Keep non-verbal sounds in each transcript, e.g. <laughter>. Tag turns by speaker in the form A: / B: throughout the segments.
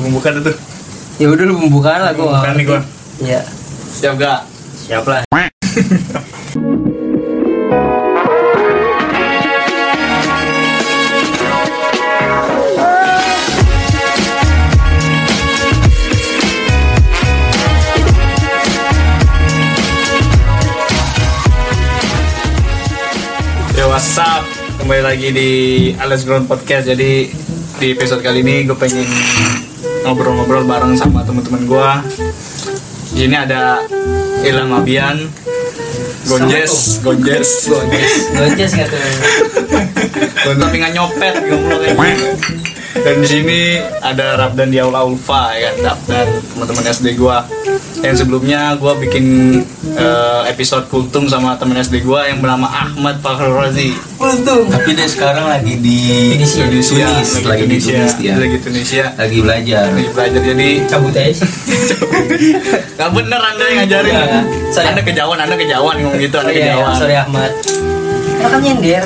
A: pembukaan itu
B: ya udah lu pembukaan lah gua
A: Pembukaan nih gua
B: ya
C: Siap gak?
A: Siap lah Yo Ya, what's up Kembali lagi di Alice Ground Podcast Jadi di episode kali ini gue pengen ngobrol-ngobrol bareng sama teman-teman gue Di Ini ada Ilham Abian Gonjes Gonjes
B: Gonjes nggak tuh
A: Gonjes tapi nggak nyopet ngomong kayak gitu. Dan di sini ada Rabdan di Aula Ulfa ya kan Rabdan teman-teman SD gue Yang sebelumnya gue bikin eh, episode kultum sama teman SD gue yang bernama Ahmad Fakhrul Razi
B: untung ya?
C: Tapi dia sekarang lagi di
B: Tunisia.
C: Tunisia.
A: Iya, lagi
C: Lagi di
A: Indonesia,
C: Tunis dia
A: lagi Tunisia,
C: Lagi belajar
A: lagi belajar jadi
B: cabut aja sih
A: nggak bener anda yang ngajarin,
B: Iya. Sorry.
A: anda kejauhan, anda kejauhan ngomong gitu, anda
B: sorry, ya,
A: kejauhan.
B: sorry Ahmad makan nyender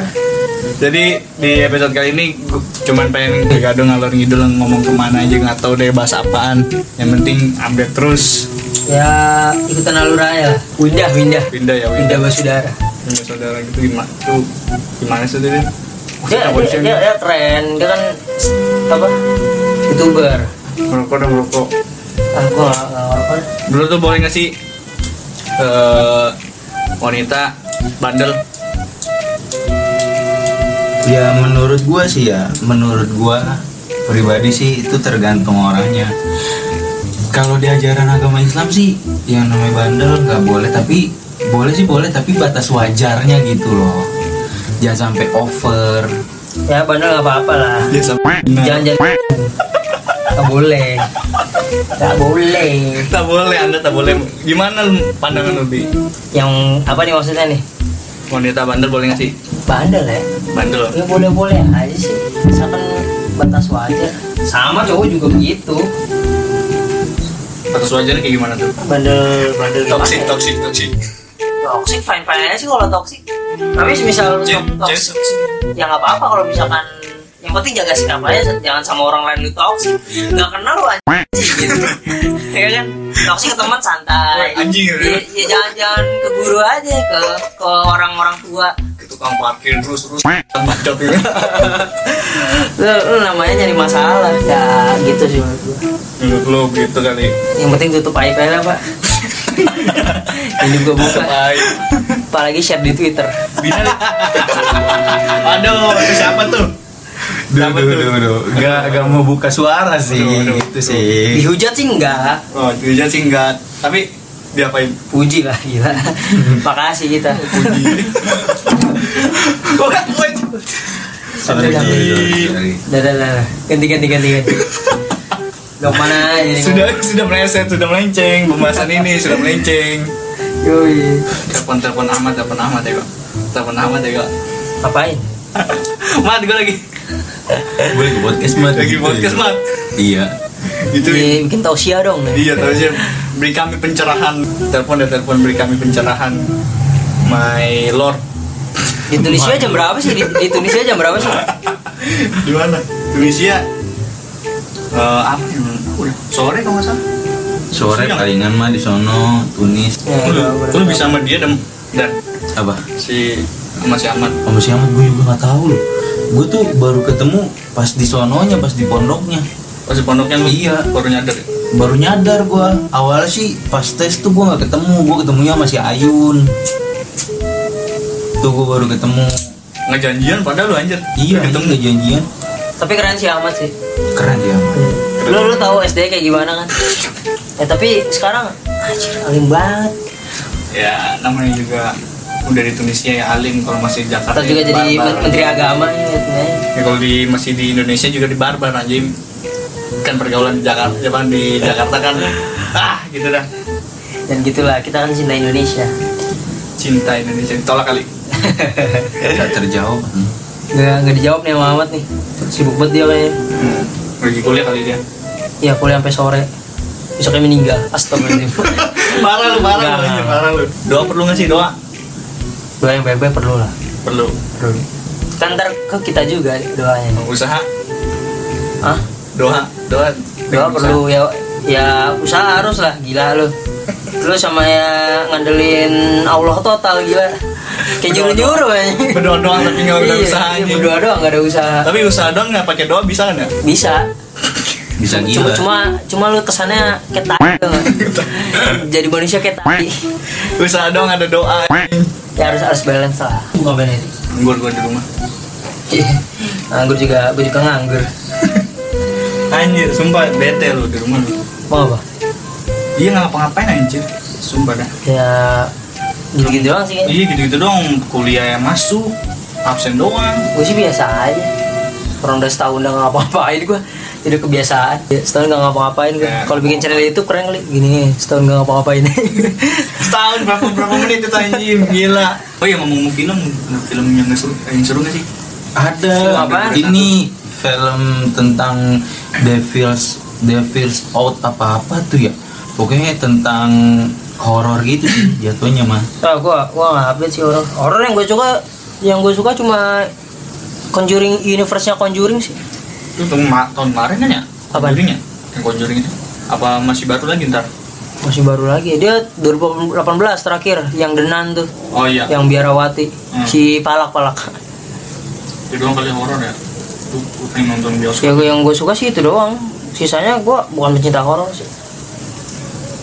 A: Jadi di episode kali ini gua cuman pengen bergaduh ngalor ngidul ngomong kemana aja nggak tahu deh bahas apaan. Yang penting update terus,
B: ya ikutan alur aja lah windah windah
A: pindah ya
B: windah
A: pindah.
B: basudara
A: Pindah saudara gitu gimana tuh gimana sih tadi?
B: dia dia, dia, dia keren dia kan apa youtuber
A: merokok dong merokok.
B: ah gua nggak- nggak apa
A: Dulu tuh boleh nggak sih eh, wanita bandel?
C: Ya menurut gua sih ya Menurut gua pribadi sih itu tergantung orangnya Kalau di ajaran agama Islam sih Yang namanya bandel nggak boleh Tapi boleh sih boleh tapi batas wajarnya gitu loh Jangan sampai over
B: ya bandel nggak apa-apa lah
A: Ya sama.
B: jangan jangan nggak boleh nggak boleh
A: tak boleh anda tak boleh gimana lu- pandangan lebih
B: yang apa nih maksudnya nih
A: wanita bandel boleh nggak sih
B: bandel ya
A: bandel
B: ya boleh boleh aja sih misalkan batas wajar sama cowok juga begitu
A: atas wajarnya kayak gimana tuh
B: bandel bandel
A: toksik toksik toksik
B: toxic fine fine aja sih kalau toxic tapi misal
A: Jen-
B: toxic ya nggak apa apa kalau misalkan yang penting jaga sikap aja jangan sama orang lain lu toxic nggak kenal lu aja gitu ya kan toxic ke teman santai
A: Wah, anjing,
B: ya, ya jangan jangan ke guru aja ke ke orang-orang tua
A: ke tukang parkir terus terus bacot gitu
B: lu, lu namanya nyari masalah ya gitu sih menurut gua
A: menurut lu gitu kali
B: yang penting tutup aib aja lah
A: <laughs>
B: pak ini gua buka
A: Bye.
B: apalagi share di twitter
A: Bisa nih. aduh itu siapa tuh
C: Duh,
A: Apa
C: duh,
A: tuh?
C: duh, duh. Gak, gak mau buka suara sih
A: Aduh, aduh,
C: Itu
A: Iya.
C: sih
B: dihujat sih enggak
A: oh dia sih enggak tapi diapain
B: Puji lah
A: <laughs>
B: gila. Makasih kita.
C: Sorry,
B: Sudah,
C: sorry, sorry.
B: Dah dah dah. Ganti ganti ganti ganti. Dok mana aja nih?
A: sudah sudah meleset sudah melenceng pembahasan ini sudah melenceng
B: Yoi.
A: telepon telepon Ahmad telepon Ahmad ya kok telepon Ahmad ya kok
B: Ngapain?
A: Mat gue lagi
C: Boleh ke podcast Mat?
A: lagi
C: Gitu
A: podcast
C: ya.
A: Mat
C: Iya
A: itu
B: Di, bikin tausia dong. nih.
A: Iya tahu sih. Beri kami pencerahan. Telepon dan telepon beri kami pencerahan. My Lord.
B: Di Tunisia jam berapa sih? Di, di Tunisia jam berapa sih? Ya,
A: Di mana? Tunisia. ya. Eh apa? ya? Udah, Sore kalau nggak salah.
C: Sore
A: Siang.
C: palingan mah di sono Tunis
B: Ya,
A: Lu,
B: jam berapa?
A: lu bisa sama dia dan dan
C: Apa?
A: si sama si Ahmad.
C: Sama si Ahmad gue juga gak tahu loh Gue tuh baru ketemu pas di sononya, pas di pondoknya
A: Pas di pondoknya lu
C: Iya.
A: baru nyadar. ya?
C: Baru nyadar gue Awalnya sih pas tes tuh gue gak ketemu Gue ketemunya sama si Ayun Tuh gue baru ketemu
A: Nggak janjian padahal lu anjir.
C: Iya,
A: Lu
C: itu
A: ketemu.
C: gak janjian
B: Tapi keren sih amat sih.
C: Keren ya, dia Ahmad
B: Lu lu tahu SD kayak gimana kan? Ya tapi sekarang anjir alim banget.
A: Ya namanya juga udah di Tunisia ya alim kalau masih di Jakarta.
B: Atau juga
A: ya
B: jadi
A: barbar.
B: men- menteri agama gitu ya.
A: Ya, kalau di masih di Indonesia juga di barbar anjing. Kan pergaulan di Jakarta, zaman di Jakarta kan ah gitu dah.
B: Dan gitulah kita kan cinta Indonesia. <laughs>
A: Cinta Indonesia ditolak kali.
C: Gak terjawab hmm.
B: Nggak nggak dijawab nih sama Ahmad nih. Sibuk banget dia kayaknya.
A: Lagi Hmm, kuliah kali dia.
B: Iya kuliah sampai sore Besoknya meninggal
A: <laughs>
B: Astagfirullahaladzim
A: parah lu, parah lu, anjing, parah lu. Doa perlu nggak sih doa?
B: Doa yang baik-baik perlu lah
A: Perlu.
B: Perlu Kan ntar ke kita juga doanya
A: Usaha,
B: Hah?
A: doa, doa
B: Gua perlu ya ya usaha harus lah gila lu lu sama ya ngandelin Allah total gila kayak juru juru
A: berdoa doang tapi nggak ada usaha anjing.
B: berdoa doang nggak ada usaha
A: tapi usaha doang nggak pakai doa bisa kan ya? nggak
B: bisa
C: bisa
B: cuma
C: gila
B: cuma cuma lu kesannya kayak tai, <laughs> tau nggak? jadi manusia kayak tai
A: usaha doang ada doa
B: ya harus harus balance lah bukan balance
A: nganggur gua di rumah
B: Ih, Iya. nganggur juga gue juga nganggur
A: anjir sumpah bete lu di rumah lu
B: mau apa
A: iya nggak ngapa-ngapain anjir sumpah dah
B: ya gitu gitu doang sih
A: iya gitu-gitu dong kuliah yang masuk absen doang
B: gue sih biasa aja orang udah setahun udah ngapa-ngapain gue jadi kebiasaan Ya, setahun gak ngapa-ngapain gue
A: Ya.
B: kalau bikin channel itu keren kali gini setahun gak <laughs> ngapa-ngapain
A: setahun Kan berapa berapa menit itu anjing gila oh iya ngomong film film yang nggak seru yang seru nggak sih
C: ada
B: Film apaan?
C: ini film tentang Devil's Devil's Out apa apa tuh ya pokoknya tentang horor gitu sih jatuhnya mah
B: ah gue gue gak update sih orang orang yang gue suka yang gue suka cuma Conjuring universe nya Conjuring sih
A: itu tahun, ma- tahun kemarin kan ya
B: Apaan?
A: Conjuring ya yang Conjuring itu apa masih baru lagi ntar
B: masih baru lagi dia 2018 terakhir yang denan tuh
A: oh iya
B: yang biarawati
A: Hmm.
B: si palak palak
A: itu doang kali horor ya Lu lu pengen nonton
B: ya
A: bioskop
B: gua- yang gue suka sih itu doang sisanya gue bukan pecinta horor sih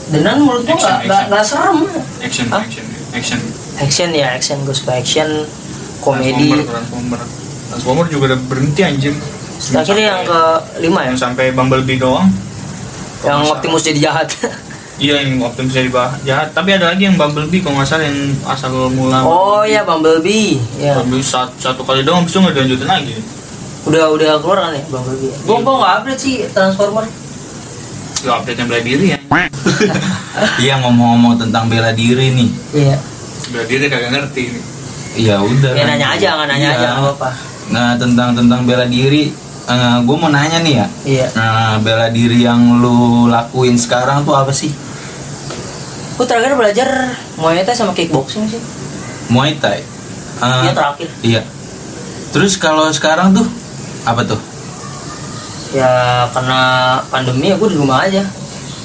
B: denan menurut gue
A: Action,
B: nggak nggak
A: action.
B: nggak serem
A: action
B: Hah?
A: action action
B: action ya action gue suka action komedi
A: Transformer, Transformer Transformer juga udah berhenti anjir
B: terakhir yang ke lima ya
A: yang sampai Bumblebee doang Kalau
B: yang
A: nggak
B: Optimus jadi jahat
A: salah. iya yang Optimus jadi bah jahat Ya, tapi ada lagi yang Bumblebee kalau nggak salah yang asal mula
B: <laughs> oh ya Bumblebee ya
A: Bumblebee satu, satu kali doang habis itu nggak dilanjutin lagi
B: udah udah keluar kan ya Bumblebee gue gue nggak update sih Transformer
A: ya update yang bela diri ya
C: iya ngomong-ngomong tentang bela diri nih
B: iya
A: bela diri kagak ngerti ini
C: ya udah
B: ya nanya aja nggak nanya aja
C: Iya.
B: nggak apa
C: nah tentang tentang bela diri gue mau nanya nih ya
B: iya
C: Nah, bela diri yang lu lakuin sekarang tuh apa sih?
B: gue terakhir belajar Muay Thai sama kickboxing sih
C: Muay Thai. Ah,
B: Iya terakhir
C: iya. Terus kalau sekarang tuh apa tuh?
B: ya karena pandemi aku di rumah aja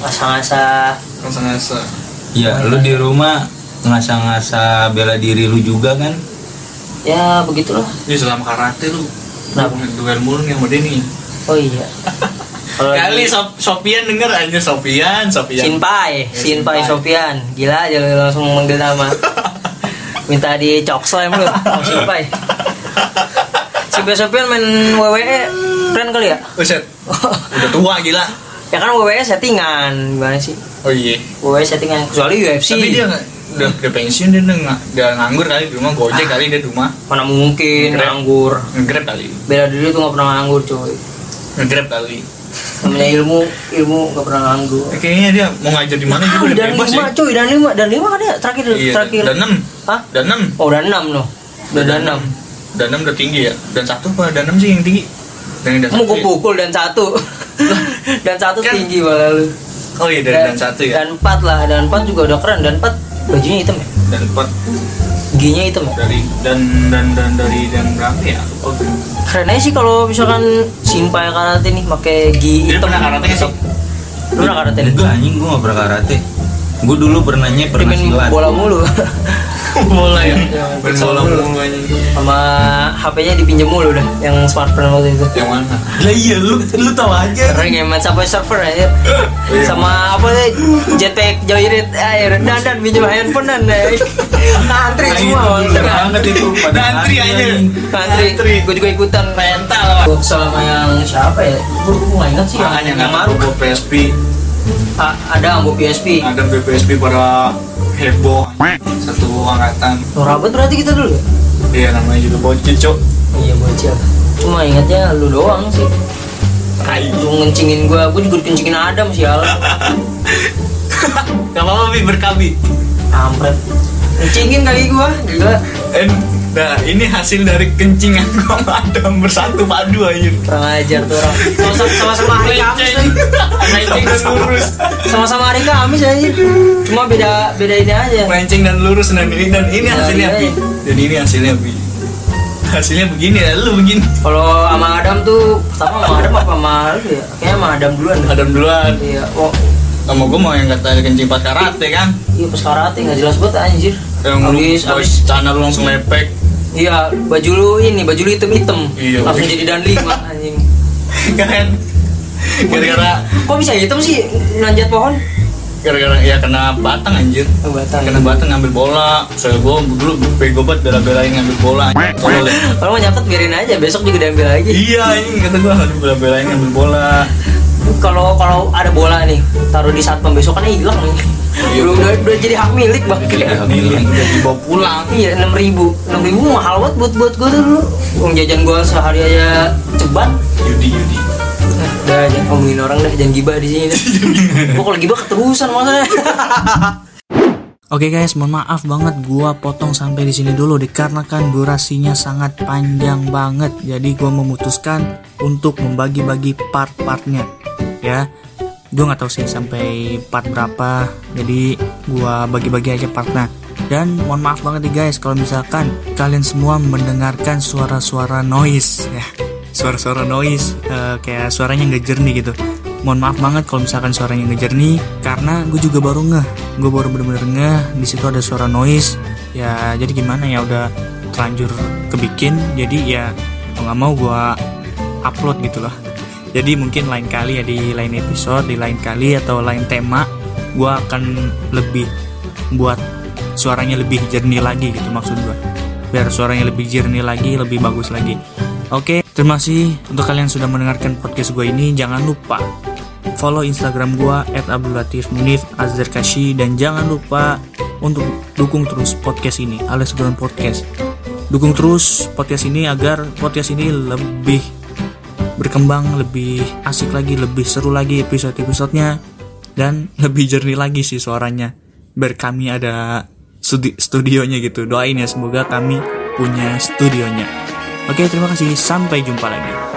B: ngasah-ngasah
A: Kan rasa-rasa
C: Ya,
B: Muay
C: lu
B: Thai.
C: di rumah ngasah-ngasah bela diri lu juga kan?
B: ya begitulah
A: ini selama karate lu
B: Kenapa?
A: Lu duel mulu nih sama Denny
B: oh
A: <laughs>
B: iya kalau
A: kali
B: lagi-
A: Sop- Sopian denger anjir Sopian Sopian <laughs>
B: Sinpai
A: Sinpai.
B: Sinpai Sofian gila aja lu langsung manggil
A: <laughs>
B: nama minta di cok slam lu sama Sinpai Sinpai Sofian main WWE keren kali ya <laughs>
A: Uset udah tua gila
B: ya kan WWE settingan gimana sih
A: oh iya
B: WWE settingan kecuali UFC
A: tapi dia nggak- udah udah pensiun dia udah nggak- udah nganggur kali di rumah gojek
B: Ah.
A: kali dia di rumah
B: mana mungkin
A: Keren.
B: nganggur
A: ngegrab kali
B: bela diri tuh nggak pernah nganggur cuy
A: ngegrab kali Ya,
B: namanya ilmu ilmu nggak pernah nganggur
A: kayaknya dia mau ngajar di mana juga udah
B: dan
A: Ah, bebas
B: Ah, lima
A: ya
B: cuy dan lima dan lima kan ya terakhir
A: iya
B: terakhir
A: dan enam
B: Hah?
A: dan enam
B: oh dan enam loh dan, dan enam
A: dan enam udah tinggi ya dan satu apa dan enam sih yang tinggi dan yang dan
B: Kamu
A: satu
B: gue
A: ya?
B: pukul dan
A: <laughs>
B: satu Dan satu
A: Kan-
B: tinggi malah lu
A: oh iya dan, dan satu ya
B: Eh, Dan empat lah Dan empat juga udah keren Dan empat bajunya hitam ya
A: dan empat
B: Giginya hitam ya
A: dari dan dan dan dari dan berapa ya oh, <laughs>
B: Keren aja sih kalau misalkan Simpai karate nih pakai gi
A: dia
B: hitam
A: pernah karate nggak sih
B: Lu pernah karate nih?
C: Enggak anjing gua gak pernah karate. Gua dulu pernahnya
B: Dia
C: pernah
B: main
C: silat.
B: bola mulu <laughs>
A: bola ya
B: Iya,
A: main
B: futsal
A: bola
B: dulu.
A: mulu anjing.
B: Sama HP-nya dipinjem mulu dah Yang smartphone waktu itu
A: yang mana
C: Lah iya lu lu tahu aja.
B: Keren ya main sampai server
A: Iya.
B: aja Sama apa sih Jetpack joyrit Air Dan dan pinjem handphone dan eh. Antri
A: Nah,
C: gitu
A: itu
B: semua
A: dulu
B: waktu itu.
A: banget itu pada
C: Ngantri aja.
B: Ngantri,
A: Ngantri.
B: gue juga ikutan mental sama yang siapa ya? Gue gue nggak ingat sih yang
A: makanya nggak
B: yang
A: mau
B: Maruk.
A: bawa PSP
B: A- ada ambo PSP.
A: ada BPSP pada heboh satu angkatan
B: Nurabet berarti kita dulu. ya?
A: dia namanya juga bocil <laughs> cok
B: Iya bocil. Cuma ingatnya lu doang sih.
A: tai
B: Lu ngencingin gue, gue juga dikencingin Adam sih al.
A: gak apa-apa Bi, berkabi
B: Kampret. Ngencingin kali gue, gila.
A: Eh, nah ini hasil dari kencingan gua sama Adam bersatu padu aja
B: Kurang ajar tuh orang. Sama- Sama-sama hari Kamis
A: Lenceng.
B: lagi. Lenceng
A: Sama-sama
B: dan
A: lurus.
B: lurus. Sama-sama hari Kamis aja. Cuma beda beda ini aja.
A: melenceng dan lurus dan ini dan ini
B: Nah,
A: hasilnya
B: iya,
A: bi
B: iya.
A: dan ini hasilnya bi hasilnya begini ya lu begini
B: Kalau sama Adam tuh pertama sama Adam apa sama lu ya? Kayaknya sama Adam duluan. deh.
A: Adam duluan
B: Iya, oh,
A: sama gue mau yang kata kencing pas karate kan
B: iya pas karate nggak jelas banget anjir.
A: yang lu
B: Habis-
A: boys
B: habis-
A: channel lu langsung lepek <laughs>
B: Iya, baju lu ini, baju lu hitam-hitam.
A: Iya,
B: Langsung
A: baju-
B: jadi dan lima anjing.
A: kan gara-gara
B: Kok bisa hitam sih nanjat pohon?
A: gara-gara ya kena batang anjir kena
B: Batang.
A: batang ngambil bola saya gue dulu bego banget bela-belain ngambil bola anjir. Tolol ya.
B: Kalau mau nyatet biarin aja, besok juga diambil lagi.
A: iya ini kata gue aduh bela-belain ngambil bola
B: Kalau kalau ada bola nih, taruh di saat pembesokannya hilang nih.
A: Iya.
B: Udah, udah, udah jadi hak milik bang.
C: Iya.
A: milih udah dibawa pulang
B: Iya, enam ribu, enam ribu mahal banget buat buat gue dulu. Uang jajan gue sehari aja ceban.
A: Yudi Yudi
B: Udah jangan ngomongin orang dah, jangan gibah di sini. Gue kalau gibah keterusan masalahnya.
D: Oke guys, mohon maaf banget gua potong sampai di sini dulu dikarenakan durasinya sangat panjang banget. Jadi gua memutuskan untuk membagi-bagi part-partnya. Ya. Gua nggak tahu sih sampai part berapa. Jadi gua bagi-bagi aja partnya. Dan mohon maaf banget nih guys kalau misalkan kalian semua mendengarkan suara-suara noise ya suara-suara noise eh, kayak suaranya nggak jernih gitu mohon maaf banget kalau misalkan suaranya nggak jernih karena gue juga baru ngeh gue baru bener-bener ngeh di situ ada suara noise ya jadi gimana ya udah terlanjur kebikin jadi ya mau nggak mau gue upload gitu loh jadi mungkin lain kali ya di lain episode di lain kali atau lain tema gue akan lebih buat suaranya lebih jernih lagi gitu maksud gue biar suaranya lebih jernih lagi, lebih bagus lagi. Oke, terima kasih untuk kalian yang sudah mendengarkan podcast gue ini. Jangan lupa follow Instagram gue @abdulatifmunif azdarkashi dan jangan lupa untuk dukung terus podcast ini, alias Ground Podcast. Dukung terus podcast ini agar podcast ini lebih berkembang, lebih asik lagi, lebih seru lagi episode-episodenya dan <laughs> lebih jernih lagi sih suaranya. Biar kami ada studi- studionya gitu. Doain ya semoga kami punya studionya. Oke, terima kasih. Sampai jumpa lagi.